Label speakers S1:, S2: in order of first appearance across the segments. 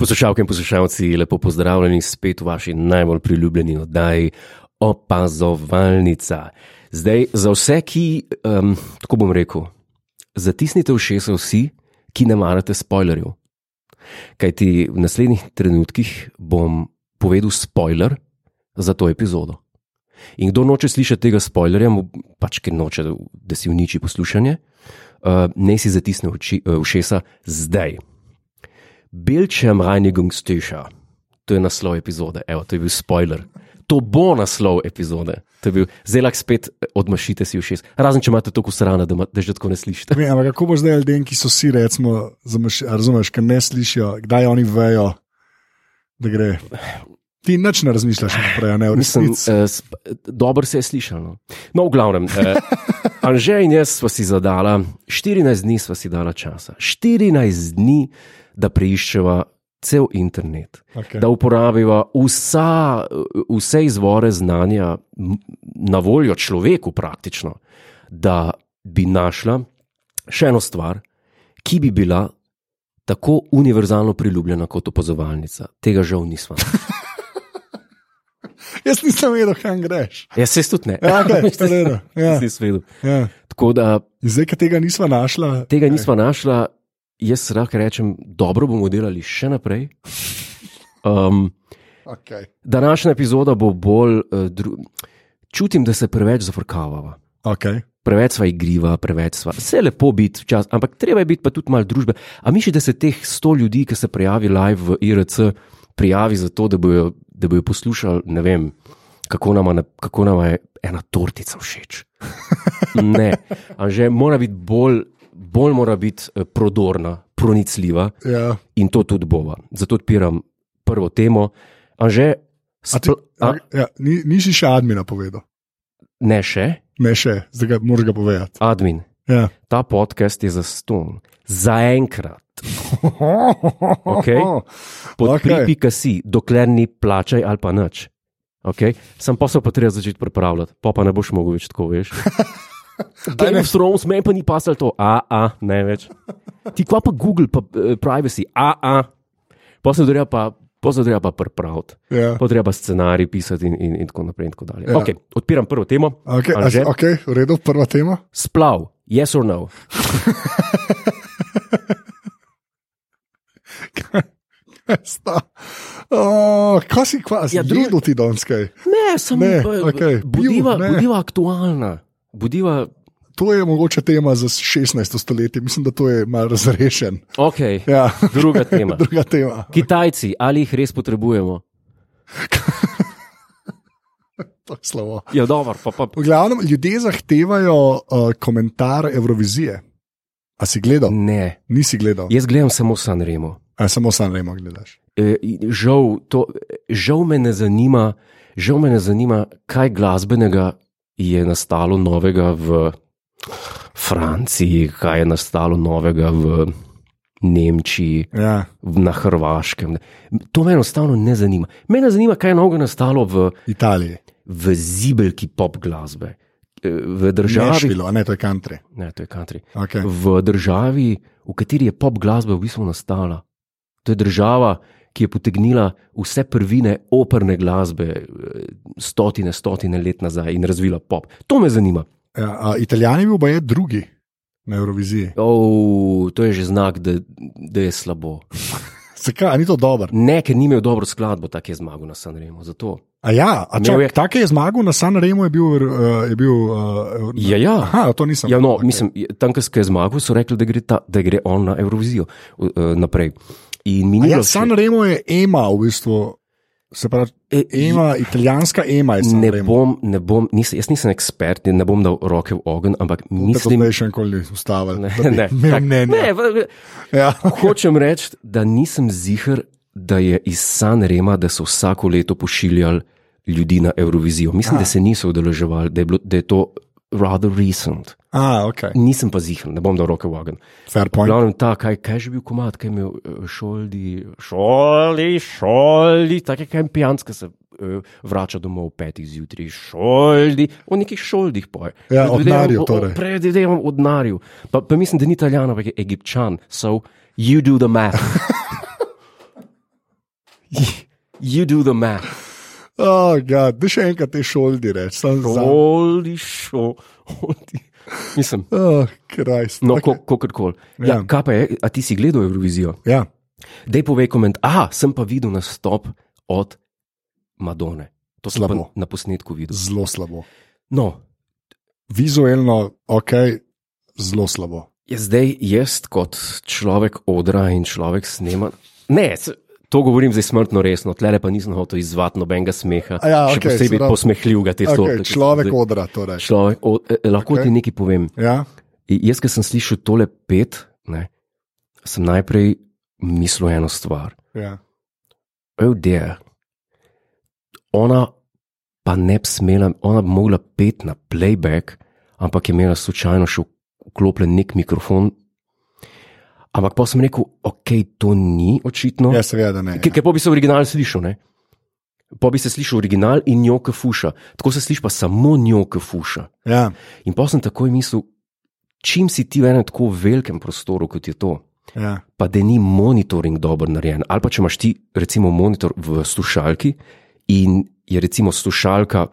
S1: Poslušalke in poslušalci, lepo pozdravljeni spet v vaši najbolj priljubljeni oddaji Opazovalnica. Zdaj, za vse, ki, um, tako bom rekel, zatisnite ušesa vsi, ki ne marate spoilerjev. Kaj ti v naslednjih trenutkih bom povedal spoiler za to epizodo. In kdo noče slišati tega spoilerja, mu pač ker noče, da si uniči poslušanje, uh, naj si zatisne oči, uh, ušesa zdaj. Bildschirmreinigungstischer. To je naslov epizode, evo, to je bil spoiler. To bo naslov epizode. To je bil zelo spet eh, odmašite si v šest. Razen če imate tako srana, da, ma, da že tako ne slišite.
S2: Ne, ampak kako boš zdaj ljudem, ki so si, recimo, zamaš, a razumeš, ker ne slišijo, kdaj oni vejo, da gre. Ti nič ne razmišljaš naprej, a ne v
S1: Mislim,
S2: resnici.
S1: eh, sp- dobro se je slišalo. No, no v glavnem, eh, Anže in jaz sva si zadala, 14 dni sva si dala časa, 14 dni, da preiščeva cel internet,
S2: Okay.
S1: da uporabiva vsa, eh, vse izvore znanja m, na voljo človeku, praktično, da bi našla še eno stvar, ki bi bila tako univerzalno priljubljena kot opazovalnica. Tega žal nismo.
S2: Jaz nisem vedel, kam greš.
S1: Jaz se tudi ne.
S2: Ja, okay, v redu, ja,
S1: Nisi svedel.
S2: ja.
S1: Tako da
S2: In Zdaj, ki tega nisva našla,
S1: tega nismo našla, jaz lahko rečem, dobro bomo delali še naprej. Um,
S2: Okay.
S1: današnja epizoda bo bolj. Uh, dru... Čutim, da se preveč zafrkavava.
S2: Okay.
S1: Preveč sva igriva, preveč sva. Vse je lepo biti včasih, ampak treba je biti pa tudi malo družbe. A misliš, da se teh sto ljudi, ki se prijavi live v IRC, prijavi zato, da bojo, da bojo poslušali, ne vem, kako nama, na- kako nama je ena tortica všeč. Ne, že mora biti bolj, bolj mora biti eh, prodorna, pronicljiva
S2: Ja.
S1: in to tudi bova. Zato odpiram prvo temo. Anže,
S2: A ti,
S1: spl- a,
S2: ja, ni, nisi še admina povedal,
S1: ne še,
S2: ne še, zdaj ga moraš ga povedati.
S1: admin.
S2: Ja.
S1: Ta podcast je za ston, zaenkrat. Okej.
S2: Okej.
S1: Podpri.ca, okay. dokler ni plačaj ali pa nič. Okay? Sam pa se pa treba začeti pripravljati, pa, pa ne boš mogel več tako veš. Game of Thrones, meni pa ni pasal to, a, a, ne več. Ti kva pa Google, pa eh, privacy, a, a. Posebej treba pa, posebej treba pa pripraviti,
S2: Ja.
S1: pa treba scenarij pisati in, in, in tako naprej. In tako dalje.
S2: Ja.
S1: okay, odpiram prvo temo.
S2: Okay, a,
S1: Anže?
S2: ok, v redu, prva tema.
S1: Splav, yes or no.
S2: Sta. Oh, kaj si kvas,
S1: Ja,
S2: ja,
S1: drugi-
S2: drugo ti donskaj.
S1: Ne, samo
S2: Ne,
S1: pa-
S2: okej,
S1: budiva,
S2: bil, ne.
S1: budiva aktualna, budiva
S2: To je mogoče tema za 16. stoletje, mislim, da to je malo razrešen.
S1: okay, ja.
S2: Ja.
S1: druga tema.
S2: Druga tema.
S1: Kitajci, ali jih res potrebujemo?
S2: To je slabo.
S1: Ja, dobro, pa pa.
S2: V glavnem, ljudje zahtevajo uh, komentar Eurovizije. A si gledal?
S1: Ne,
S2: Nisi gledal.
S1: jaz gledam samo San Remo.
S2: A, samo sam ne moreš gledati.
S1: E, in žal, to, žal, me ne zanima, žal me ne zanima, kaj glasbenega je nastalo novega v Franciji, kaj je nastalo novega v Nemčiji,
S2: Ja.
S1: v- na Hrvaškem. To me enostavno ne zanima. Mene zanima, kaj je novega nastalo v,
S2: Italiji.
S1: v zibelki pop glasbe, E, v državi.
S2: Nešvilo, a ne, to je country.
S1: Ne, to je country.
S2: Okay.
S1: v državi, v kateri je pop glasba v bistvu nastala. To je država, ki je potegnila vse prvine operne glasbe eh, stotine, stotine let nazaj in razvila pop. To me zanima.
S2: Ja, a, Italijan je bil pa je drugi na Euroviziji.
S1: Oh, to je že znak, da, da je slabo.
S2: Zakaj, a ni to dobro?
S1: Ne, ker ni imel dobro skladbo, tako je zmagal na Sanremo. Zato.
S2: A ja, a
S1: Imel
S2: čak,
S1: je-
S2: je... Tako je zmagal na San Remo, je bil. Uh, je bil uh,
S1: Ja, ja.
S2: Aha, to nisem.
S1: Ja, no,
S2: okej.
S1: mislim, je- tam, ko je zmagal, so rekli, da gre, ta, da gre on na Eurovizijo eh, naprej. In
S2: A
S1: minilo
S2: Ja,
S1: še-
S2: San Remo je ema, v bistvu. Se pravi,
S1: Eh,
S2: ema, italijanska ema je San
S1: Ne
S2: Remo.
S1: bom, ne bom, nisem, jaz nisem ekspert in ne bom dal roke v ogenj, ampak
S2: Mislim,
S1: mislim,
S2: da je še nikoli ustavil.
S1: Ne,
S2: da bi
S1: ne.
S2: imel mnenje.
S1: Ne, v- v-
S2: Ja.
S1: hočem reči, da nisem zihar, da je iz San Rema, da so vsako leto pošiljali ljudi na Eurovizijo. Mislim,
S2: Aha.
S1: da se niso udeleževali, da je, bilo, da je to rather recent.
S2: A, ok.
S1: Nisem pa zihar, ne bom dal roke v ogenj.
S2: Fair
S1: V
S2: point.
S1: glavnem ta, kaj, kaj je že bil komat, kaj je imel eh, šoldi, šoli, šoli, take kaj pijanske se eh, vrača domov ob petih zjutraj, šoldi, o nekih šoldih poje.
S2: Ja,
S1: Predvidevam,
S2: odnarju
S1: o- o-
S2: torej.
S1: Predvidevam odnarju. Pa, pa mislim, da ni italijan, ampak je egipčan, so you do the math. You do the math.
S2: Oh, God, da še enkrat te šoldi reč, sem
S1: No.
S2: zelo.
S1: Holy show. Holy. Mislim,
S2: Oh, Krist.
S1: no,
S2: Okej.
S1: okay. kakorkoli. Ja,
S2: Ja.
S1: ja. Kaj pa je, a ti si gledal Eurovizijo?
S2: Ja,
S1: Dej povej koment, a sem pa videl nastop od Madone. To sem
S2: Slabo.
S1: pa na posnetku videl.
S2: zelo slabo.
S1: No,
S2: Vizualno, ok, zelo slabo.
S1: je zdaj jaz kot človek odra in človek snema. Ne, s- to govorim zdaj smrtno resno, tlele pa nisem hotel izvati nobenega smeha.
S2: A ja,
S1: še
S2: okej, se
S1: posebej
S2: pravi-
S1: posmehljivega te
S2: Okay,
S1: stvari.
S2: človek odra, torej.
S1: Človek, o, eh, lahko
S2: Okej.
S1: okay. ti nekaj povem.
S2: Ja,
S1: I- Jaz, ki sem slišal tole pet, ne, sem najprej mislil eno stvar.
S2: ja.
S1: Oh, dear. Ona pa ne bi smela, ona bi mogla pet na playback, ampak je imela slučajno še vklopljen nek mikrofon. Ampak pa sem rekel, ok, to ni očitno.
S2: ja seveda ne.
S1: Ker ker pa bi se original slišal, ne? Pa bi se slišal original in njo kafuša. Tako se sliši pa samo njo kafuša.
S2: Ja,
S1: In pa sem takoj mislil, čim si ti v enem tako velikem prostoru, kot je to,
S2: ja,
S1: pa da ni monitoring dobro narejen. Ali pa če imaš ti, recimo, monitor v slušalki in je recimo slušalka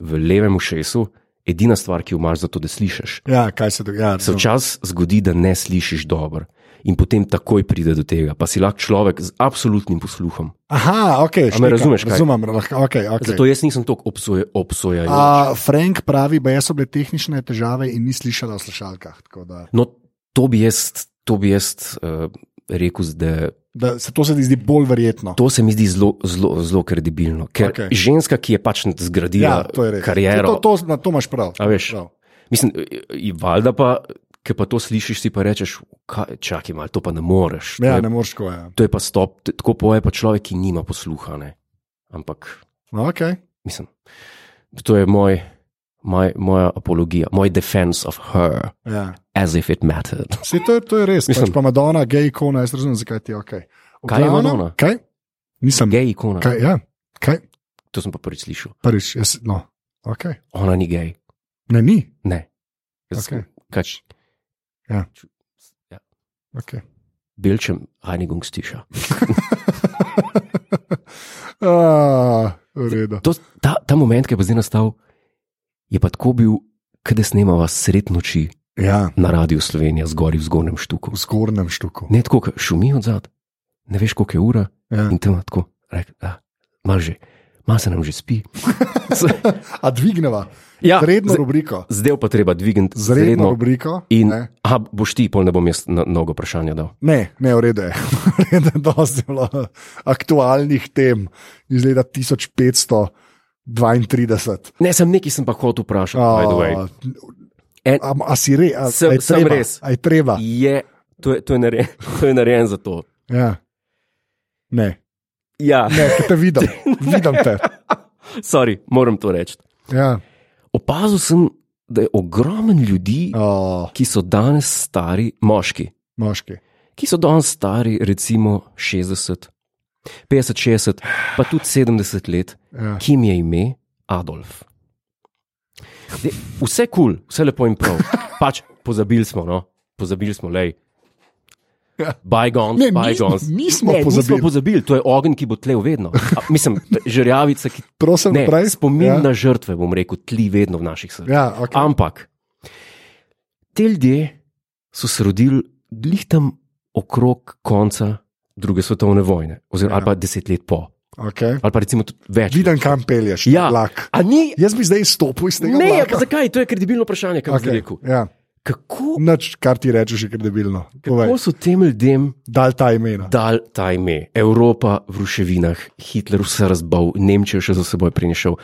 S1: v levem ušesu, edina stvar, ki jo imaš za to, da slišiš.
S2: ja, kaj se dogaja. Ja,
S1: Se
S2: razumem.
S1: včasih zgodi, da ne slišiš dobro in potem takoj pride do tega, pa si lahko človek z absolutnim posluhom.
S2: Aha, ok.
S1: A me razumeš kaj?
S2: Razumem, lahko, okay, okay.
S1: Zato jaz nisem tako obsoje, obsojen.
S2: A, Frank pravi, da so bile tehnične težave in ni slišala v slušalkah. tako Da,
S1: No, to bi jaz, to bi jaz uh, rekel, da
S2: da se to se ti zdi bolj verjetno.
S1: To se mi zdi zelo, zelo, zelo kredibilno. Ker
S2: Okej.
S1: okay. ženska, ki je pač zgradila
S2: ja, to je res.
S1: kariero,
S2: To, to, to, na to imaš prav.
S1: A veš?
S2: Prav.
S1: mislim, i- i- valjda pa, ki pa to slišiš, si pa rečeš, "Kaj, čakaj malo, to pa ne moreš. to,
S2: Ja,
S1: je,
S2: ne moreš tako. Ja.
S1: to je pa stop, T- tako poje pa človek, ki nima posluha. Ne? Ampak,
S2: No, okay.
S1: mislim, to je moj, moj, moja apologija, moj defense of her,
S2: ja.
S1: as if it mattered.
S2: Sej, to, je, to je res.
S1: Mislim-
S2: Mislim, pač pa Madonna, gej ikona, jaz razumem, zakaj ti je ok. V
S1: Kaj je
S2: glavnem-
S1: Madonna?
S2: Kaj? Nisem gej.
S1: Gej ikona,
S2: Kaj, ja, kaj?
S1: to sem pa prvič slišal.
S2: Prvič, jaz, no, ok.
S1: Ona ni gej,
S2: Ne, ni.
S1: ne. Jaz,
S2: Okej.
S1: okay. Kač,
S2: Ja.
S1: ču- ja.
S2: Okay.
S1: Belčem Reinigungstiša.
S2: Ah, v redu.
S1: To, ta, ta moment, ki je pa zdaj nastal, je pa tako bil, kaj da snemava sred noči
S2: Ja,
S1: na radiju Slovenija, zgori v zgornjem štuku.
S2: v zgornjem štuku.
S1: Ne tako, ke šumi odzad, ne veš, koliko je ura
S2: Ja.
S1: in tam tako, rekel, da, malo že, malo se nam že spi. Z-
S2: A dvigneva,
S1: ja,
S2: redno
S1: z-
S2: rubriko.
S1: zdaj pa treba dvigniti
S2: Z redno
S1: zredno.
S2: rubriko.
S1: In,
S2: ne,
S1: aha, boš ti, pol ne bom jaz na, mnogo vprašanja dal.
S2: ne, ne v redu je. V redu je, Dosti je bilo aktualnih tem iz leta 1532.
S1: Ne, sem nekaj sem pa hotel vprašati, by the way.
S2: A,
S1: En-
S2: Ah, a, a si re, a,
S1: Sem-
S2: a je
S1: sem
S2: treba,
S1: res.
S2: A je treba.
S1: Je, to, je, to, je narejen, to je narejen za to.
S2: Ja. Ne,
S1: Ja,
S2: ne, ker te vidim, vidim te.
S1: sorry, moram to reči.
S2: Ja.
S1: Opazil sem, da je ogromen ljudi,
S2: O,
S1: ki so danes stari, moški,
S2: moški.
S1: ki so danes stari, recimo 60, 50, 60, pa tudi 70 let,
S2: Ja.
S1: ki jim je ime Adolf. De, vse kul, cool, vse lepo in prav. Pač pozabili smo, no, pozabili smo, lej.
S2: Ja.
S1: Bygons,
S2: Ne, nis-
S1: bygons.
S2: nismo
S1: ne,
S2: pozabili.
S1: nismo pozabili, to je ogenj, ki bo tlel vedno. A, mislim, žrjavica, ki
S2: Prosim,
S1: ne,
S2: naprej.
S1: spomin ja.
S2: ja.
S1: na žrtve, bom rekel, tli vedno v naših srcih.
S2: Ja, okay.
S1: Ampak te ljudje so se rodili glih tam okrog konca druge svetovne vojne, oziroma
S2: Ja.
S1: ja. pa deset let po,
S2: okay.
S1: ali pa recimo tudi več.
S2: Vidim, kam pelješ.
S1: Ja.
S2: Lak.
S1: A ni,
S2: Jaz bi zdaj izstopil iz tega.
S1: ne, ja, pa
S2: vlaka.
S1: zakaj? To je kredibilno vprašanje, kaj okay. bi rekel.
S2: Ja.
S1: Kako,
S2: Nič, kar ti rečeš, je kredibilno. Povej.
S1: kako so tem ljudem
S2: Dal ta imena.
S1: dal ta ime? Evropa v ruševinah, Hitler vse razbal, Nemčijo še za seboj prinešel.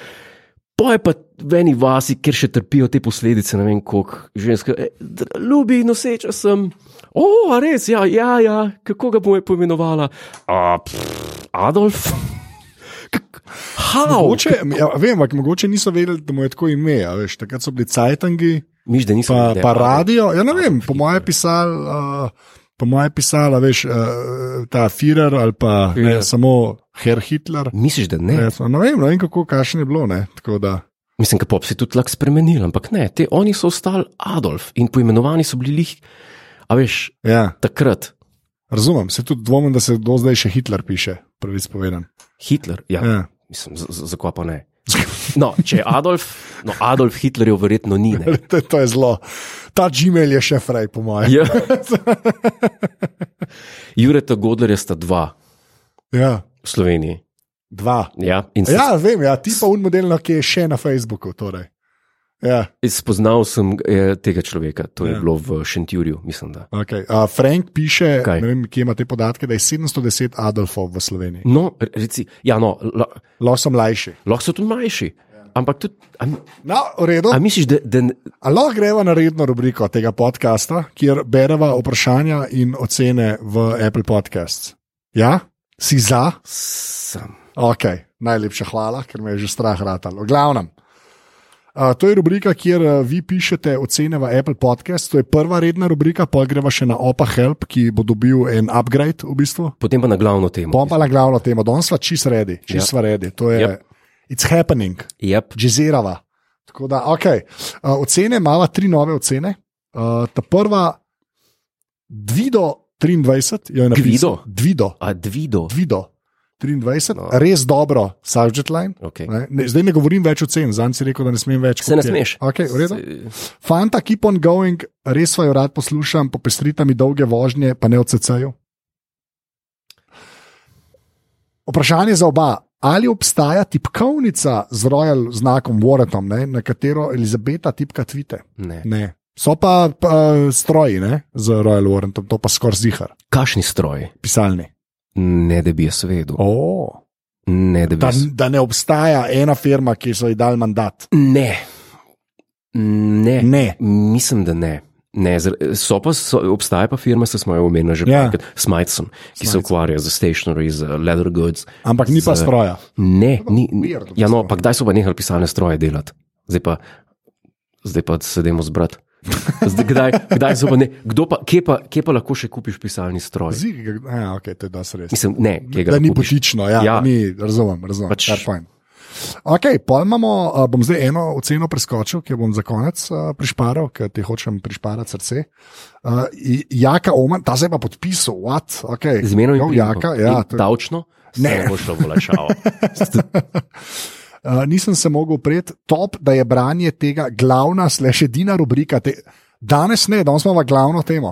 S1: Poje pa v eni vasi, kjer še trpijo te posledice, ne vem koliko žensk. "E, dr- Ljubi, noseča sem. O, a res, ja, ja, ja. kako ga bomo poimenovala? A, pff, Adolf? Hav!
S2: Mogoče, ja, vem, ampak mogoče niso vedeli, da mu je tako ime. a Veš, takrat so bili Cajtangi,
S1: Miš, da nisem
S2: pa,
S1: vedel,
S2: pa
S1: Adolf.
S2: radio. Ja, ne vem, po mojem je pisal. Uh, Po mojem je pisala, veš, uh, ta Führer ali pa ne,
S1: Führer.
S2: samo Herr Hitler.
S1: Misliš, da ne?
S2: Recimo, Ne vem, ne vem kako kašne je bilo. Ne, tako da,
S1: Mislim, da pop se je tudi lahko spremenil, ampak ne, te, oni so ostali Adolf in poimenovani so bili lih, a veš,
S2: ja,
S1: takrat.
S2: razumem, se tudi dvomim, da se do zdaj še Hitler piše. pravic povedan.
S1: Hitler, ja, ja.
S2: Ja.
S1: mislim, z- z- zakaj pa ne. No, če je Adolf, no Adolf Hitlerjev verjetno ni. Ne.
S2: To, to je zelo. Ta Gmail je še fraj, po mojem.
S1: Ja. Jureta Godlerja sta dva
S2: Ja,
S1: v Sloveniji.
S2: dva.
S1: Ja, in se, ja.
S2: Ja, vem, ja, ti pa un modelno, ki je še na Facebooku. Torej. Ja,
S1: spoznal sem eh, tega človeka, to je ja.
S2: Ja.
S1: bilo v Šentjurju, mislim. Da.
S2: okay. uh, Frank piše,
S1: Kaj?
S2: ne vem, kje ima te podatke, da je 710 Adolfov v Sloveniji.
S1: No, re- reci, ja, no, la,
S2: Lahko sem lajši.
S1: lahko so tudi manjši. Ampak tudi, a,
S2: No, v redu.
S1: a misliš, da, da n-
S2: A lahko greva na redno rubriko tega podcasta, kjer bereva vprašanja in ocene v Apple Podcasts. Ja, si za?
S1: sem.
S2: Ok, najlepša hvala, ker me je že strah ratalo. V glavnem. Uh, to je rubrika, kjer uh, vi pišete ocene v Apple Podcast. To je prva redna rubrika, pa greva še na Opa Help, ki bo dobil en upgrade v bistvu.
S1: Potem pa na glavno temo.
S2: Bom pa na glavno temo, danes sva čist redi, čist
S1: Ja.
S2: sva redi. To je,
S1: Yep.
S2: it's happening,
S1: Yep.
S2: džezirava. Tako da, ok. Uh, ocene, imamo tri nove ocene. Uh, ta prva, Dvido 23, jo je napisal.
S1: Gvido?
S2: Dvido,
S1: A Dvido.
S2: Dvido 23, no.
S1: No.
S2: res dobro, subject line.
S1: Okay.
S2: Ne, ne, zdaj ne govorim več o cen, zanj si rekel, da ne smem več.
S1: Se ne
S2: kot je.
S1: smeš.
S2: Okay, v redu.
S1: Se-
S2: Fanta, keep on going, res vajo rad poslušam, popestrita mi dolge vožnje, pa ne od CC-ju. Vprašanje za oba. Ali obstaja tipkovnica z rojal znakom Warretom, ne, na katero Elizabeta tipka tvite?
S1: Ne.
S2: Ne. So pa, pa stroji ne, z Royal Warrentom, to pa skoraj zihar,
S1: Kašni stroj?
S2: pisalni.
S1: Ne, da bi jaz vedel.
S2: Oh.
S1: Ne, da bi
S2: Da,
S1: jaz.
S2: da ne obstaja ena firma, ki so ji dal mandat.
S1: Ne. ne.
S2: Ne.
S1: Mislim, da ne. ne zar- so pa, so, obstaja pa firma, se smo jo omenili že
S2: Ja.
S1: prej, Smithson, ki se
S2: Smithson.
S1: ukvarja z stationery, z leather goods.
S2: Ampak ni pa
S1: Z-
S2: stroja.
S1: Ne,
S2: pa
S1: ni.
S2: weird v
S1: Ja, no,
S2: bistvu.
S1: pa kdaj so pa nehali pisalne stroje delati? Zdaj pa, zdaj pa sedemo zbrat. Zdaj, kdaj, kdaj so pa ne? Kdo pa, kje pa, kje pa lahko še kupiš pisalni stroj?
S2: Zig, ja, okay, to je dosti res.
S1: Mislim, ne, kje ga
S2: Da ni
S1: kupiš.
S2: božično, ja, ja.
S1: Ja.
S2: Ni, razumem, razumem.
S1: Pač-
S2: Pač... Okay, pa imamo, a, bom zdaj eno oceno preskočil, ki jo bom za konec a, prišparal, ker ti hočem prišparati srce. A, I- Jaka Oman, ta se je pa podpisal, what? Okay.
S1: Zmerno
S2: Jo,
S1: in
S2: Jaka, ja,
S1: to...
S2: to,
S1: davčno. se
S2: Ne.
S1: Ne, bo šlo v lačavo.
S2: a, Eh, nisem se mogel upreti, top, da je branje tega glavna, slash edina rubrika. Te, danes ne, danes imamo glavno temo.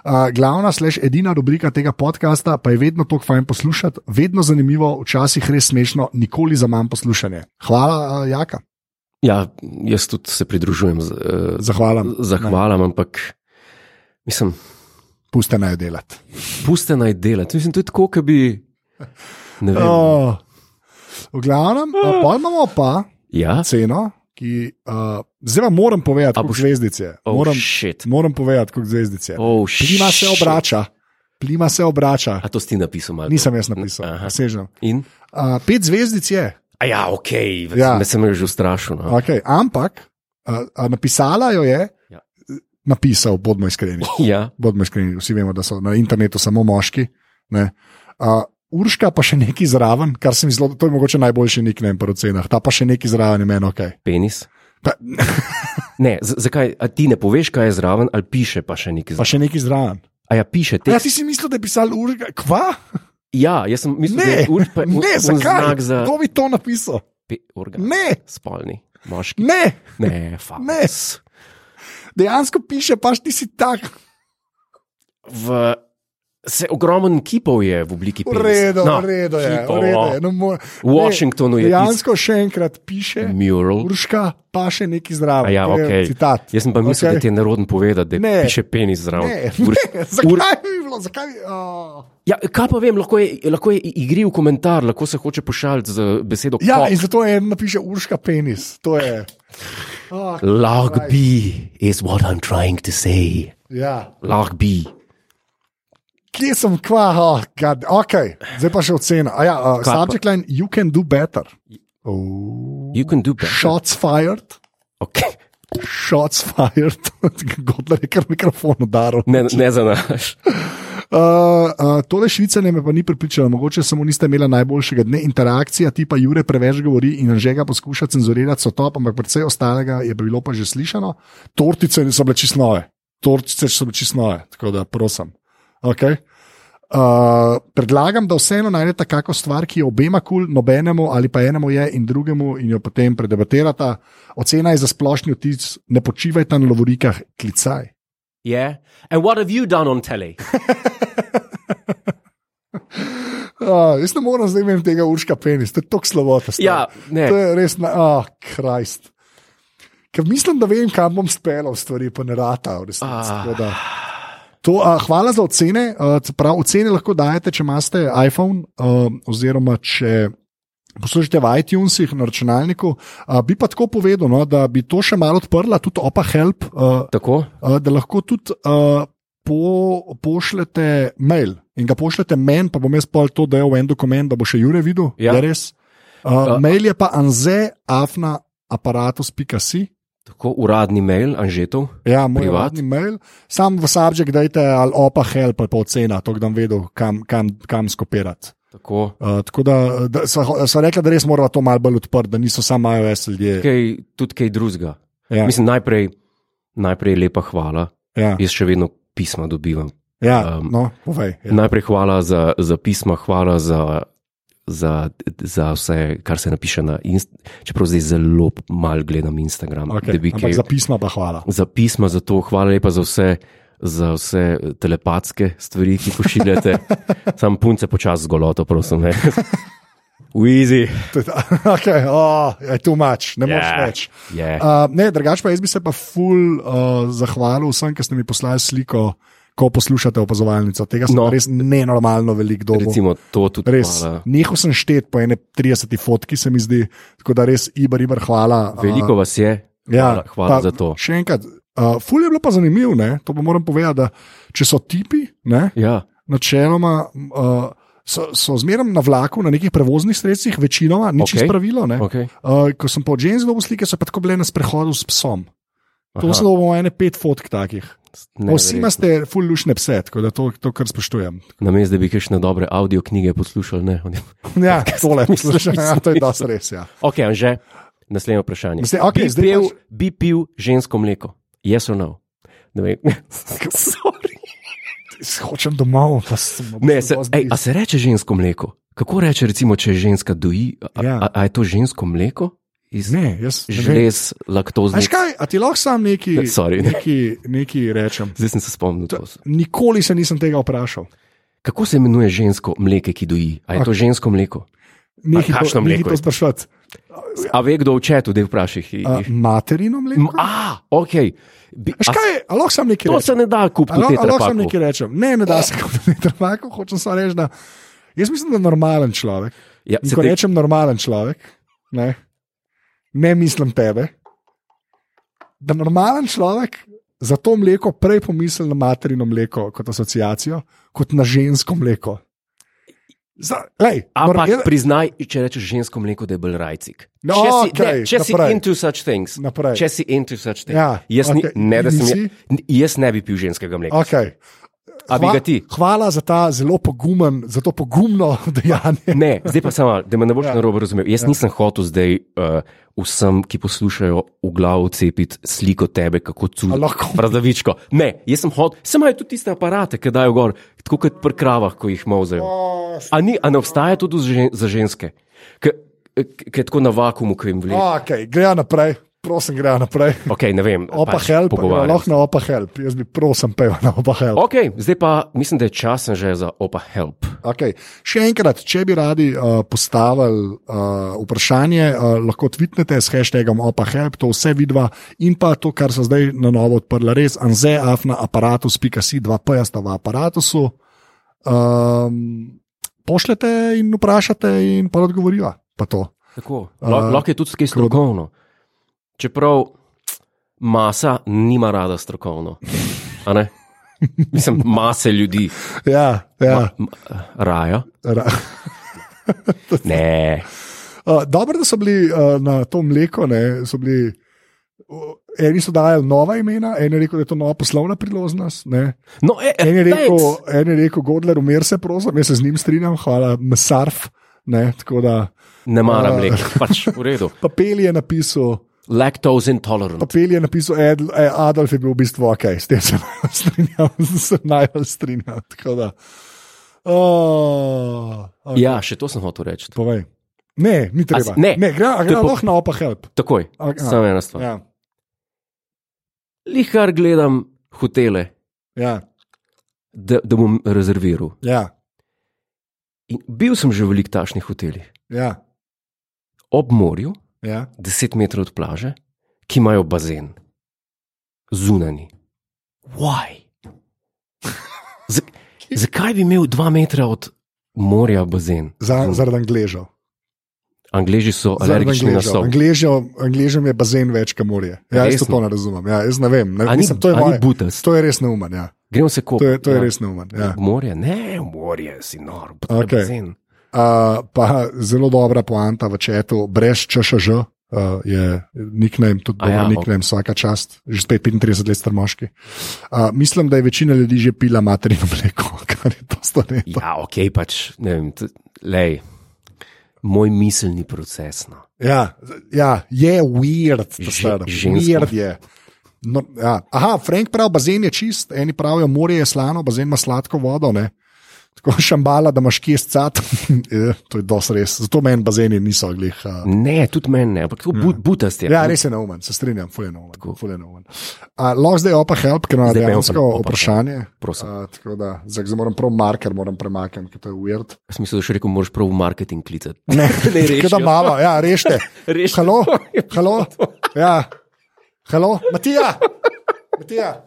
S2: Uh, glavna, slash edina rubrika tega podcasta pa je vedno tako fajn poslušati, vedno zanimivo, včasih res smešno, nikoli za manj poslušanje. Hvala, uh, Jaka.
S1: Ja, jaz tudi se pridružujem z, eh,
S2: Zahvalam.
S1: zahvalam, ampak mislim,
S2: Puste naj jo delati.
S1: puste naj delati. Mislim, to je tako, kot bi. Ne vem.
S2: Oh. V glavnem, uh, pol imamo pa
S1: Ja,
S2: ceno, ki uh, zdaj vam moram povedati,
S1: A
S2: kako
S1: boš-
S2: zvezdice.
S1: oh,
S2: Moram,
S1: shit.
S2: moram povedati, kako zvezdice.
S1: Oh,
S2: Plima se
S1: shit.
S2: obrača, plima se obrača.
S1: A to si ti napisal, malo.
S2: Nisem jaz napisal,
S1: Aha.
S2: presežem.
S1: In?
S2: Uh, pet zvezdic je,
S1: A ja, ok,
S2: Ja.
S1: ja. me sem jo že ustrašil. No.
S2: okay, ampak uh, uh, napisala jo je,
S1: Ja.
S2: napisal, bodmo iskreni.
S1: Ja,
S2: Bodmo iskreni, vsi vemo, da so na internetu samo moški. ne. Uh, Urška pa še nekaj zraven, kar se mi zelo, to je mogoče najboljši nek na cenah, ta pa še nekaj zraven je meni, ok.
S1: penis.
S2: Pa,
S1: Ne, z- zakaj a ti ne poveš, kaj je zraven, ali piše pa še nekaj
S2: pa
S1: zraven?
S2: še nekaj zraven.
S1: A ja, piše
S2: Ja,
S1: tekst.
S2: ti si mislil, da je pisal Urška, kva?
S1: Ja, jaz sem mislil, da
S2: Ne,
S1: je ur- pa- un-
S2: ne,
S1: un
S2: zakaj?
S1: znak za Ja.
S2: Kdo bi to napisal?
S1: pe- organ.
S2: Ne,
S1: Spolni, moški.
S2: ne,
S1: Ne, fakt.
S2: Ne. dejansko piše, paš ti si tak.
S1: v, se ogromen kipov je v obliki
S2: V
S1: penisa.
S2: redu,
S1: No,
S2: v redu je, v
S1: kipov,
S2: redu je.
S1: no.
S2: No, mor-
S1: V Washingtonu je tisk,
S2: Dejansko še enkrat piše,
S1: mural.
S2: Urška pa še nekaj zraven.
S1: A ja,
S2: To je
S1: okej.
S2: Citat.
S1: Jaz sem pa mislil, okay. da
S2: Okej.
S1: ti je narodno povedati, da
S2: Ne.
S1: ne. piše penis zraven.
S2: Ne,
S1: Ur-
S2: ne, zakaj bi bilo? Zakaj, uh...
S1: Ja, kaj pa vem, lahko je, lahko je igriv komentar, lahko se hoče pošaliti z besedo
S2: Ja,
S1: cock.
S2: in zato je napiše Urška penis. To je. Oh,
S1: Logbi is what I'm trying to say.
S2: ja.
S1: Logbi.
S2: Kje sem, kva, oh, god, ok, zdaj pa še ocena. A Ja,
S1: Kaj
S2: uh,
S1: pa?
S2: subject line, you can do better. Oh.
S1: You can do better.
S2: Shots fired,
S1: Okay.
S2: shots fired, Godler je kar mikrofon udaril.
S1: Ne, ne za naš.
S2: Uh, uh, tole švicanje me pa ni pripričalo, mogoče samo niste imeli najboljšega dne. Interakcija tipa Jure preveč govori in Anžega poskuša cenzurirati, so top, ampak predvsej ostalega je bilo pa že slišano. Tortice so bile čist nove, tortice so bile čist nove, tako da prosim. Okay. Uh, predlagam, da vseeno najdete kakšno stvar, ki je obema kul, cool, nobenemu ali pa enemu je in drugemu, in jo potem predebatirate. Ocena je za splošni vtis, ne počivajte na lovorikah, klicaj.
S1: Yeah. And what have you done on telly?
S2: Uh, jaz ne morem zdaj imeti tega urška penis, to je tako slabo.
S1: Ja, ne.
S2: To je res, na, ah, krajst. Ker mislim, da vem, kam bom speljal stvari, pa ne rata. V resnici.
S1: Ah.
S2: Tako da, To, uh, hvala za ocene. Uh, se pravi, ocene lahko dajete, če imate iPhone, uh, oziroma če poslušate v iTunesih na računalniku. Uh, bi pa tako povedal, no, da bi to še malo odprla, tudi opa help, uh,
S1: Tako?
S2: Uh, da lahko tudi uh, po, pošljete mail in ga pošljete meni, pa bom jaz pol to dal v en dokument, da bo še Jure videl.
S1: Ja. Eh.
S2: Ja. Je res. Uh, uh, mail je pa anzeafnaaparatus.si.
S1: Tako uradni mail, Anžetov.
S2: Ja, moj
S1: Privat?
S2: uradni mail. Sam v subject dajte ali opa help ali pa ocena, to kdam vedel, kam, kam, kam skopirati.
S1: Tako.
S2: Uh, tako da, da sva, sva rekla, da res moramo to malo bolj odprti, da niso samo iOS ljudje.
S1: Kaj, tudi kaj drugega.
S2: Ja,
S1: Mislim, najprej, najprej lepa hvala.
S2: ja,
S1: Jaz še vedno pisma dobivam.
S2: ja,
S1: um,
S2: no, povej. Ja.
S1: Najprej hvala za, za pisma, hvala za, za, za vse, kar se napiše na Instagram. Čeprav zdaj zelo malo gledam Instagram,
S2: Okay,
S1: da bi
S2: ampak
S1: kaj
S2: za pisma pa hvala.
S1: za pisma, za to, hvala lepa za vse, za vse eh, telepatske stvari, ki jih pošiljate. Sam punce počasi zgoloto, prosim. ne. V easy.
S2: Okay, oh, je tu mač, ne moreš
S1: Ja.
S2: yeah. več.
S1: Yeah.
S2: Uh, ne, drugače pa jaz bi se pa ful uh, zahvalil vsem, ki ste mi poslali sliko, ko poslušate opazovalnico. Tega sem
S1: No.
S2: no. res nenormalno velik dobo.
S1: Recimo to tudi
S2: Res,
S1: hvala.
S2: nehal sem štet po ene 30 fotki, se mi zdi, tako da res ibar, ibar, hvala. Uh,
S1: Veliko vas je. Hvala, ja, hvala
S2: pa
S1: za to.
S2: Še enkrat, uh, ful je bilo pa zanimivo, ne? to pa moram povedati, da če so tipi, ne,
S1: Ja,
S2: načeloma uh, so, so zmeraj na vlaku, na nekih prevoznih sredstvih, večinoma,
S1: Okej.
S2: ni okay. čisto pravilo. ne.
S1: okay.
S2: Uh, ko sem pa od žensk dobil slike, so pa tako bile na sprehodu s psom. To
S1: Aha,
S2: so dobo ene pet fotk takih. Pa
S1: neverjetno.
S2: Vsi imate ful lušne pse, tako da to, to kar spoštujem.
S1: Namesto, da bi kakšne dobre audio knjige poslušali. Ne?
S2: Ja, tole,
S1: Mislim,
S2: mislim, ja, to je dosti res. Ja.
S1: Ok, Anže, naslednje vprašanje.
S2: Mislim, okej,
S1: bi,
S2: zdaj
S1: pil,
S2: pač-
S1: bi pil žensko mleko? Yes or no? Ne, vem. Sorry.
S2: pač Hočem domov, pa sem
S1: ne se, ej, a se reče žensko mleko? Kako reče, recimo, če ženska doji? A,
S2: Ja.
S1: a, a je to žensko mleko? Iz
S2: Ne, jaz že.
S1: žlez, laktozne.
S2: Veš kaj, a ti lahko sam neki,
S1: Sorry, ne.
S2: neki, neki rečem?
S1: Zdaj sem se spomnil. To.
S2: Nikoli se nisem tega vprašal.
S1: Kako se imenuje žensko mleko, ki doji? A je to žensko mleko?
S2: Nekaj
S1: kakšno
S2: to,
S1: mleko
S2: nehaj
S1: je
S2: to
S1: to?
S2: sprašati.
S1: A ve kdo v četu, da vprašaj?
S2: A, Eh, materino mleko?
S1: A, ok. Bi, a,
S2: Veš kaj, a lahko sam neki
S1: to
S2: rečem?
S1: se ne da kupiti v tem
S2: Ali lahko- ali lahko sam
S1: trapaku.
S2: no, nekaj rečem? Ne, ne da se kupiti trvaku, hočem samo reči, da jaz mislim, da je normalen človek.
S1: Ja,
S2: In
S1: se
S2: ko
S1: te-
S2: rečem normalen človek, ne, ne mislim tebe. Da normalen človek za to mleko prej pomisli na materino mleko kot asociacijo, kot na žensko mleko. Za, lej,
S1: Ampak
S2: norm-
S1: priznaj, če rečeš žensko mleko, da je bolj rajcik.
S2: No,
S1: če si, ne,
S2: okej,
S1: če si
S2: naprej.
S1: into such things,
S2: Naprej.
S1: če si into such things,
S2: Ja,
S1: jaz,
S2: okej,
S1: ni, ne, da sem,
S2: nisi?
S1: jaz- jaz ne bi pil ženskega mleka.
S2: okay.
S1: A bi
S2: Hva-
S1: ga ti?
S2: Hvala za, ta zelo pogumen, za to pogumno dejanje.
S1: Ne, zdaj pa samo, da me ne boš ja.
S2: Ja.
S1: narobe razumel. Jaz ja. nisem hotel zdaj uh, vsem, ki poslušajo, v glavo cepiti sliko tebe, kako
S2: A
S1: cudiš.
S2: lahko?
S1: Pravdavičko. Ne, jaz sem hotel, sem imel tudi tiste aparate, ki dajo gor, tako kot pri kravah, ko jih mozajo. A, ni, a ne obstaja tudi za žen- za ženske, ki je tako na vakumu, ki jim vleče.
S2: Okay, gre naprej, prosim, gre naprej.
S1: Okay, ne vem,
S2: Opa
S1: pač
S2: help, ja,
S1: pogovarjam
S2: lahko na opa help, jaz bi prosim pel na opa help.
S1: Ok, zdaj pa mislim, da je čas že za opa help.
S2: Okay. Še enkrat, če bi radi uh, postavili uh, vprašanje, uh, lahko tvitnete s hashtagom opahelp, to vse vidva in pa to, kar so zdaj na novo odprla, res anzeafna aparatus.si, dva p-ja sta v aparatusu. Um, pošljete in vprašate in pa odgovoriva. Pa to.
S1: Tako, Lah-
S2: A,
S1: Lahko je tudi kaj strokovno. Čeprav masa nima rada strokovno. a ne? Mislim, mase ljudi
S2: Ja, ja.
S1: m- raja.
S2: Ra-
S1: Ne,
S2: Uh, dobro, da so bili uh, na to mleko, ne, so bili. o, Eni so dajali nova imena, en je rekel, da je to nova poslovna priložnost. ne.
S1: no, e, e,
S2: En je rekel,
S1: thanks.
S2: en je rekel Godler, umir se, prosim, jaz se z njim strinjam, hvala, mesarf. Ne, tako da,
S1: ne maram
S2: a-
S1: mleka, pač v redu.
S2: papel je napisal,
S1: Lactose intolerant.
S2: papel je napisal Ed, eh, Adolf je bil v bistvu ok, s tem se najbolj strinjam, se najbolj strinjam. tako da. Oh, okay.
S1: Ja, še to sem hotel reči.
S2: Povej. Ne, ni treba.
S1: A s- ne.
S2: ne gre
S1: To je po-
S2: lahko na opa help.
S1: Takoj,
S2: A, a,
S1: samo ena stvar.
S2: Ja,
S1: Lihar gledam hotele,
S2: ja,
S1: da, da bom rezerviral.
S2: ja,
S1: In bil sem že v velikih takšnih hotelih,
S2: ja,
S1: ob morju,
S2: ja.
S1: 10 metrov od plaže, ki imajo bazen, zunani. Why? Z, zakaj bi imel 2 metra od morja bazen?
S2: Za, zaradi angležev.
S1: Angleži so
S2: Zaradi
S1: Hm. alergični na sol.
S2: angležev. Angležem je bazen več, kot morje. Ja, jaz
S1: Resno?
S2: to ne razumem. Ja, jaz ne vem. Ne,
S1: A ni-
S2: mislim, to, je
S1: a ni
S2: moje,
S1: butas?
S2: to je res neumen. Ja.
S1: Gremo se
S2: To
S1: kopati.
S2: je, to je ja. res neumen. Ja.
S1: Morje, ne, morje si nor,
S2: Okej.
S1: bazen.
S2: Uh, pa zelo dobra poanta v četu, brez češaž. Uh, je nickname, tudi
S1: A ja,
S2: ja, nickname, vsaka čast, že spet 35 let star moški. Uh, mislim, da je večina ljudi že pila materino mleko, kar je to stane.
S1: Ja, ok, pač ne vem, t- lej. Moj miselni proces. No.
S2: Ja, ja, je weird,
S1: Že-
S2: to stvar.
S1: žensko.
S2: Weird je. No, ja. Aha, Frank pravi, bazen je čist, eni pravijo, morje je slano, bazen ima sladko vodo. Ne? Tako šambala, da imaš kje scat, Eh, to je dosti res. Zato meni bazeni niso glih. Uh,
S1: Ne, tudi meni ne, ampak to ja. butast je.
S2: ja, res je neumen, se strinjam, fulje neumen.
S1: Tako.
S2: fulje neumen. A, Lahko zdaj opa help, ker imamo
S1: Zdaj pa
S2: dejansko
S1: opa- opa
S2: vprašanje.
S1: Prosim.
S2: A, tako da, zdaj zdaj moram prav marker moram premakniti, ker to je weird.
S1: Jaz sem mislil, da še rekel, moraš prav v marketing klicati.
S2: Ne,
S1: Ne rešijo.
S2: da malo, ja, rešite.
S1: Rešijo.
S2: Halo, halo, ja. halo, Matija, Matija,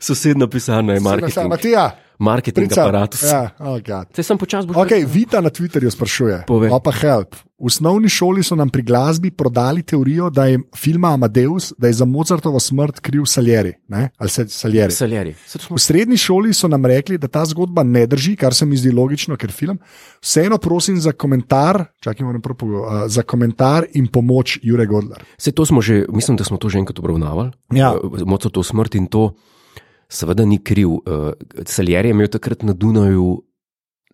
S1: Sosedna pisarna je
S2: Naša-
S1: marketing,
S2: Matija,
S1: marketing
S2: prica.
S1: aparatus. Ja.
S2: Ja, oh God.
S1: Te sem počasi bolj.
S2: okay, Vita na Twitterju sprašuje,
S1: Povej.
S2: pa help. V osnovni šoli so nam pri glasbi prodali teorijo, da je filma Amadeus, da je za Mozartovo smrt kriv Salieri. Ne? Ali se Salieri.
S1: Saljeri. Se to smo
S2: V srednji šoli so nam rekli, da ta zgodba ne drži, kar se mi zdi logično, ker film. Vseeno prosim za komentar, čakaj, moram prav povedati, uh, za komentar in pomoč Jure Godler.
S1: Se to smo že, mislim, da smo to že enkrat obravnavali. Eh,
S2: Ja.
S1: Moco to smrt in to, seveda, ni kriv. Uh, Celjer je imel takrat na Dunaju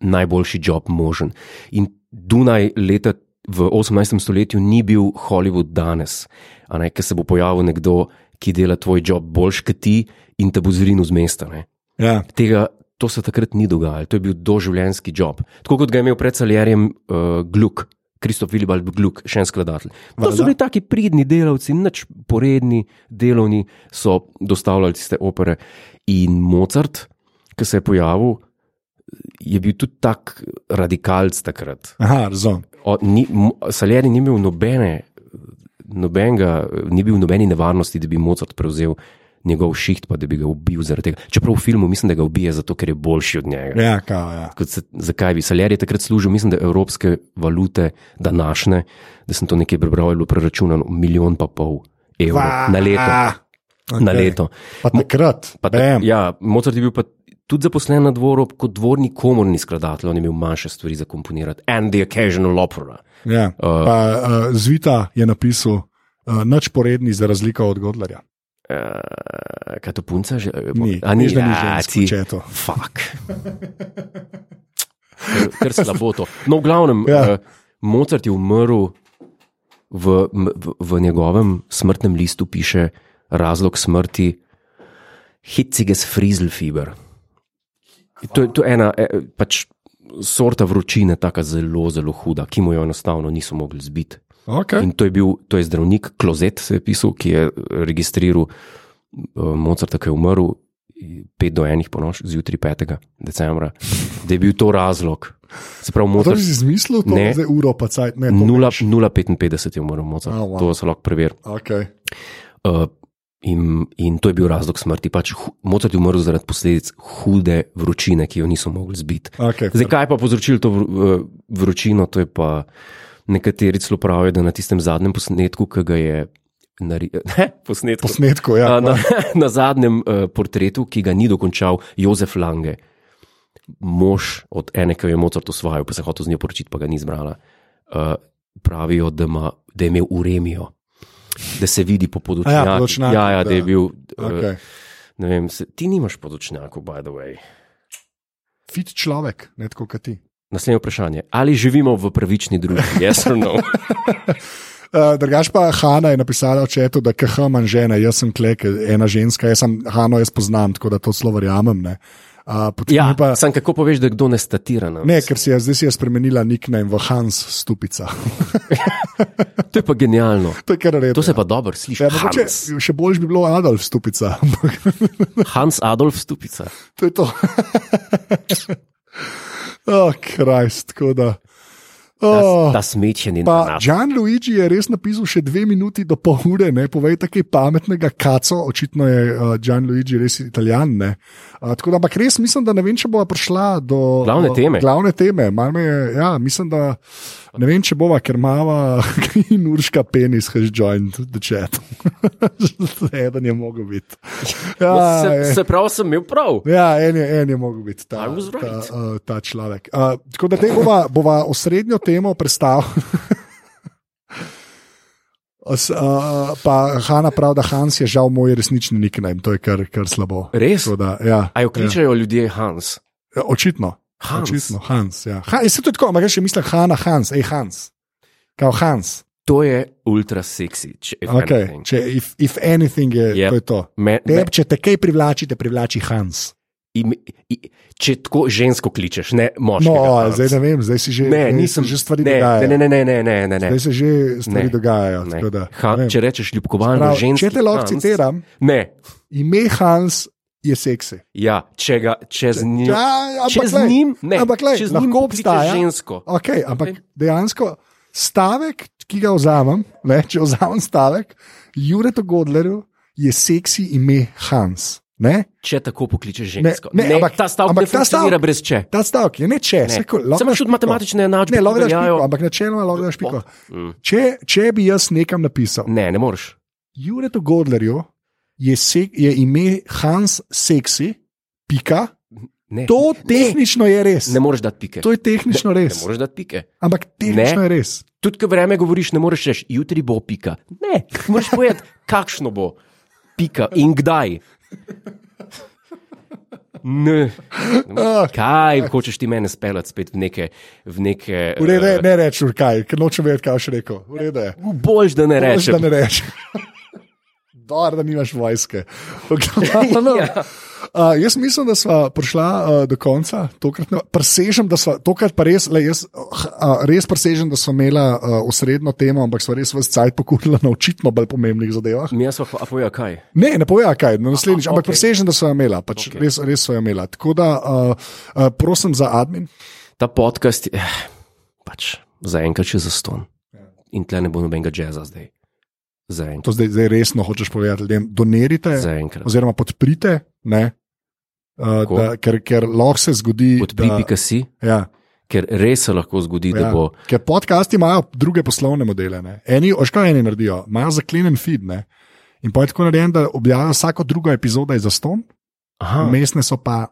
S1: najboljši job možen. In Dunaj leta v 18. stoletju ni bil Hollywood danes, a ne, ker se bo pojavil nekdo, ki dela tvoj job boljš kot ti in te bo zrinil z mesta. Ne.
S2: Ja.
S1: Tega, to se takrat ni dogajalo, to je bil doživljenjski job. Tako kot ga je imel pred Saljerjem uh, Gluk, Kristof Vilibald Gluk, še en skladatelj. To
S2: Valjda.
S1: so bili taki pridni delavci, nič poredni, delovni, so dostavljali tiste opere. In Mozart, ki se je pojavil, je bil tudi tak radikalc takrat.
S2: Aha, razumem.
S1: O, ni, Mo- Salieri ni imel nobene, nobenega, ni bil v nobeni nevarnosti, da bi Mozart prevzel njegov šiht, pa da bi ga ubil zaradi tega. Čeprav v filmu mislim, da ga ubije zato, ker je boljši od njega.
S2: Ja, kao, ja.
S1: Kot Se, zakaj bi Salieri je takrat služil, mislim, da evropske valute, današnje, da sem to nekaj prebral, je bilo preračunano milijon pa pol evrov
S2: Va-
S1: na leto.
S2: Okay.
S1: Na leto.
S2: Pa takrat,
S1: Pa
S2: pa
S1: ta-
S2: takrat. Ja.
S1: Ja, Mozart je bil pa tudi zaposlen na dvoru kot dvorni komorni skladatelj, on je imel manjše stvari za komponirati. And the occasional opera.
S2: Ja. Pa, uh, Zvita je napisal, uh, nič poredni za razliko od Godlerja.
S1: Eh, kaj to punca že? eh,
S2: Ni,
S1: a
S2: veš, da ni
S1: Ja,
S2: žensk
S1: ti-
S2: v četu.
S1: Fak. Ker- Ker slabo to. No, v glavnem,
S2: Ja.
S1: ja. Mozart je umrl, v, m- v, v njegovem smrtnem listu piše razlog smrti hitziges frizelfiber. To, je- to je ena eh, pač sorta vročine, tako zelo, zelo huda, ki mu jo enostavno niso mogli zbiti.
S2: Okay.
S1: In to je bil to je zdravnik Klozet, se je pisal, ki je registriral eh, Mozarta, ki je umrl 5 do 1 po noč, zjutraj 5. decembra, da je bil to razlog. Se pravi,
S2: To
S1: Mozart,
S2: si izmislil, to
S1: Ne.
S2: je zdaj uro, pa cajt, ne. to
S1: nula-
S2: veš.
S1: 0,55 je umrl Mozart,
S2: A, wow.
S1: to se lahko preveri.
S2: Okay.
S1: Uh, in, in to je bil razlog smrti. Pač, hu- Mozart je umrl zaradi posledic hude vročine, ki jo niso mogli zbiti.
S2: Okay,
S1: Zdaj, kaj je pa povzročilo to vr- eh, vročino, to je pa nekateri celo pravijo, da na tistem zadnjem posnetku, ki ga je naredil, ne posnetku.
S2: Posnetko,
S1: A,
S2: ja.
S1: Na, na zadnjem uh, portretu, ki ga ni dokončal Jozef Lange, mož od ene, ki jo je Mozart osvajal, pa se je hotel z njo poročiti, pa ga ni izbrala. Uh, pravijo, da, ima, da je imel uremijo, da se vidi po
S2: A ja,
S1: podočnjaku.
S2: podočnjak,
S1: ja, ja, da je
S2: da.
S1: bil. Okay.
S2: Okay.
S1: Uh, vem, se, ti nimaš podočnjakov, by the way.
S2: Fit človek, ne tako kot ti.
S1: Naslednje vprašanje. Ali živimo v pravični družbi? Yes or no?
S2: Uh, drugač pa Hanna je napisala v četu, da KH manj žena, jaz sem klek, ena ženska, jaz sem Hanno jaz poznam, tako da to zelo verjamem. ne. Uh, Uh,
S1: Ja,
S2: pa,
S1: Sam kako poveš, da kdo ne statira? No?
S2: ne, ker si je zdaj si je spremenila nickname v Hans Stupica.
S1: To je pa genialno.
S2: to je kar reče.
S1: To se pa dobro sliši.
S2: Ja, mogoče,
S1: Hans,
S2: še bolj bi bilo Adolf Stupica, ampak
S1: Hans Adolf Stupica.
S2: to je to. oh, Krist, tako da.
S1: Ta,
S2: Oh.
S1: ta smečen in
S2: Pa
S1: naš.
S2: Gian Luigi je res napisal še dve minuti do pol ure, ne povej tako pametnega kaco, očitno je uh, Gian Luigi res italijan. ne. Uh, tako da, ampak res mislim, da ne vem, če bova prišla do
S1: Glavne
S2: do
S1: teme.
S2: Glavne teme. Malo me Je, ja, mislim, da ne vem, če bova, ker mava in urška penis has joined the chat. Eden je mogel biti. Ja,
S1: No, Se,
S2: je.
S1: se pravi, sem imel prav.
S2: Ja, en je, en je mogel biti
S1: I
S2: ta,
S1: was right.
S2: ta, uh, ta človek. Uh, tako da te bova, bova osrednjo temo predstavila. Os, uh, pa Hanna pravi, da Hans je žal moj resnični nickname, to je kar, kar slabo.
S1: Res?
S2: Tako Da, ja,
S1: A jo kličejo ljudje Hans.
S2: ja, očitno.
S1: Hans.
S2: Očitno, Hans. Ja. Ha, jaz se tudi tako, ampak jaz še mislim, Hanna, Hans, hej Hans. Kao Hans.
S1: To je ultra seksi. Če, if
S2: Okay.
S1: anything.
S2: Če, if, if anything, je,
S1: Yep.
S2: yep. to je to.
S1: me, me,
S2: Te, če te kaj privlači, te privlači Hans.
S1: im, i, če tako žensko kličeš, ne moškega.
S2: No,
S1: Hans.
S2: zdaj ne vem, zdaj si že,
S1: Ne,
S2: zdaj se
S1: nisem
S2: že stvari
S1: ne,
S2: dogajajo.
S1: ne, ne, ne, ne, ne, ne, ne, ne.
S2: Zdaj se že stvari
S1: Ne.
S2: ne. dogajajo.
S1: Ne.
S2: tako Da,
S1: Ha,
S2: ne vem.
S1: če rečeš ljubkovalno
S2: Prav,
S1: žensko.
S2: če te lahko citiram,
S1: Ne,
S2: ime Hans je seksi.
S1: ja, če, ga, če z njim.
S2: Ja,
S1: če
S2: ampak
S1: z
S2: glej,
S1: njim, ne,
S2: ampak glej,
S1: če z njim
S2: lahko obstaja.
S1: kličeš žensko.
S2: Okay, ampak
S1: Okej.
S2: okay. dejansko stavek, ki ga vzamem, ne, če vzamem stavek, Juretu Godlerju je seksi ime Hans. Ne?
S1: Če tako pokličeš žensko.
S2: ne, ampak-
S1: ta stavek
S2: ampak
S1: ne
S2: ta
S1: funkcionira
S2: stavek-
S1: brez če.
S2: Ta stavek je ne če,
S1: Ne.
S2: saj ko- lahko
S1: Samo
S2: daš
S1: še tudi
S2: piko.
S1: matematične enačbe.
S2: Ne,
S1: ki
S2: lahko daš
S1: veljajo.
S2: piko, ampak načeloma lahko daš piko.
S1: Mm.
S2: Če, če bi jaz nekam napisal,
S1: Ne, ne moreš.
S2: Juretu Godlerju je, sek, je ime Hans seksi, pika.
S1: Ne,
S2: To tehnično je res.
S1: ne moreš dati pike.
S2: To je tehnično
S1: ne, ne
S2: res.
S1: moreš dati pike.
S2: Ampak tehnično
S1: Ne.
S2: ne. je res.
S1: Tudi, ko vreme govoriš, ne moreš reči, jutri bo pika. Ne, moraš povedati, kakšno bo pika in kdaj. Ne.
S2: Ah,
S1: Kaj hočeš ti mene speljati spet v neke. V neke
S2: v redu je,
S1: eh,
S2: ne reči, kaj, ker nočem vedeti, kaj še rekel. V redu je.
S1: Boljš, da ne
S2: Boš,
S1: rečeš.
S2: Da ne rečeš. Dobro, da nimaš vojske. V glavnem,
S1: Ja.
S2: Uh, jaz mislim, da smo prišla uh, do konca, tokrat ne, presežem, da smo, tokrat pa res, le, jaz, uh, res presežem, da smo imela uh, osrednjo temo, ampak smo res vse cajt pokurila na očitno bolj pomembnih zadevah.
S1: Mi smo pa povedali, kaj.
S2: Ne, ne povem, kaj je naslednjič,
S1: okej.
S2: ampak okay. presežem, da so jo imela, pač
S1: Okej.
S2: okay. res, res so jo imela. Tako da uh, uh, prosim za admin.
S1: Ta podcast je eh, pač zaenkrat še zaston.
S2: Ja.
S1: In tle ne bo nobenega jazza zdaj. Zaenkrat.
S2: To zdaj, zdaj resno hočeš povedati ljudem. Donirite,
S1: Zaenkrat.
S2: oziroma podprite, ne, uh,
S1: Tako.
S2: da, ker, ker lahko se zgodi. da,
S1: Podpri.ca si,
S2: ja,
S1: ker res se lahko zgodi, ja. da
S2: ja,
S1: bo.
S2: ker podcasti imajo druge poslovne modele. Ne. Eni, oškaj eni naredijo, imajo zaklenjen feed. Ne. In pa je tako narejen, da objavijo vsako drugo epizodo iz Aston,
S1: Aha,
S2: mestne so pa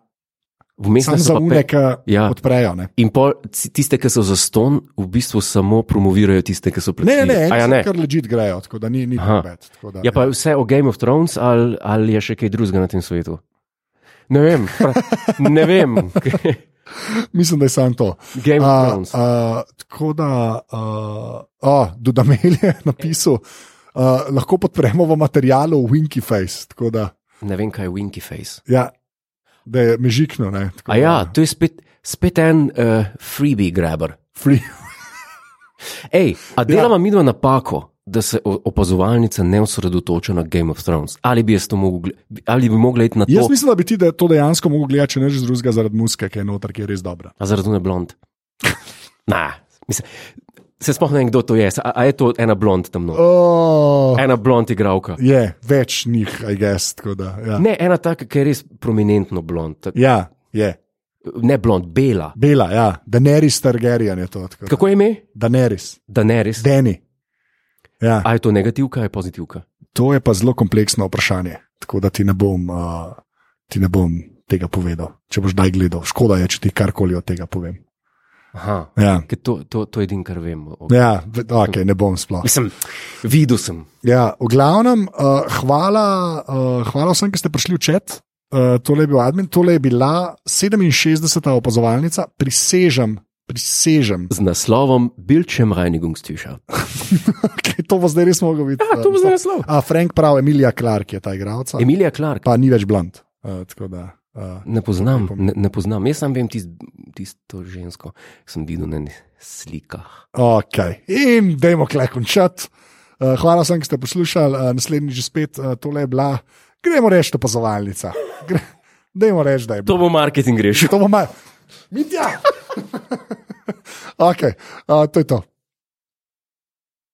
S1: vmes
S2: samo
S1: so
S2: za
S1: pa
S2: unek,
S1: pe-
S2: ki
S1: Ja.
S2: ja. odprejo. Ne.
S1: In pol, ci- tiste, ki so zaston, v bistvu samo promovirajo tiste, ki so pred
S2: Ne, ne, ne,
S1: A ja,
S2: eni
S1: ne.
S2: so kar ležit grejo, tako da ni, ni
S1: Aha.
S2: bed. tako da-
S1: Ja, pa vse o Game of Thrones ali, ali je še kaj drugega na tem svetu. Ne vem, pra, ne vem.
S2: Mislim, da je samo to.
S1: Game of
S2: A,
S1: Thrones.
S2: a, tako da, a, a, Dudamel je napisal, a, lahko podpremo v materialu Winky Face. Tako da,
S1: Ne vem, kaj je Winky Face.
S2: ja, da je mežikno. Ne, tako
S1: A ja,
S2: da,
S1: to je spet, spet en uh, freebie grabber.
S2: free.
S1: Ej, a delava ja. midva napako, da se o- opazovalnica ne osredotoča na Game of Thrones. Ali bi jaz to mogel, gle- ali bi mogla iti na to,
S2: Jaz mislim, da bi ti de, to dejansko mogel gledati, če ne že z drugega, zaradi muske, ki je noter, ki je res dobra.
S1: a zaradi ne blond. Na, mislim, se sploh ne vem, kdo to je. A, a je to ena blond tam noč?
S2: Oh,
S1: Ena blond igralka.
S2: je, več njih, I guess. tako Da, ja.
S1: Ne, ena taka, ki je res prominentno blond. Ta-
S2: ja, je,
S1: Ne blond, bela.
S2: bela, ja. Daenerys Targaryen je to. tako da.
S1: Kako je ime?
S2: Daenerys,
S1: Da ne res.
S2: Deni. Ja.
S1: A je to negativka, a je pozitivka?
S2: To je pa zelo kompleksno vprašanje, tako da ti ne bom, uh, ti ne bom tega povedal. Če boš daj gledal, škoda je, če ti karkoli od tega povem.
S1: Aha.
S2: Ja,
S1: Ker to, to, to je edino, kar vem. o-
S2: ja okay, ne bom sploh.
S1: Mislim, videl sem.
S2: Ja, v glavnem, uh, hvala, uh, hvala vsem, ki ste prišli v čet. Uh, tole je bil admin, tole je bila 67. opazovalnica, prisežem, prisežem.
S1: Z naslovom Bildschirmreinigungstücher.
S2: Okay, to bo zdaj res moglo biti.
S1: Ja, to bo zdaj naslov.
S2: A Frank pravi, Emilija Clark je ta igralca,
S1: Emilija Clark.
S2: pa ni več bland. Uh, tako da, Uh,
S1: Ne poznam,
S2: Kaj pa-
S1: ne, ne poznam. Jaz sam vem tist, tisto žensko, ki sem videl na enih slikah.
S2: Ok, in dajmo kle končati. Uh, hvala vsem, ki ste poslušali, uh, naslednjič že spet uh, tole je bila, gremo reči, opazovalnica. Gre, dajmo reči, da je
S1: To
S2: bilo.
S1: bo marketing rešil.
S2: eh, To bo malo. Mitja! ok, uh, to je to.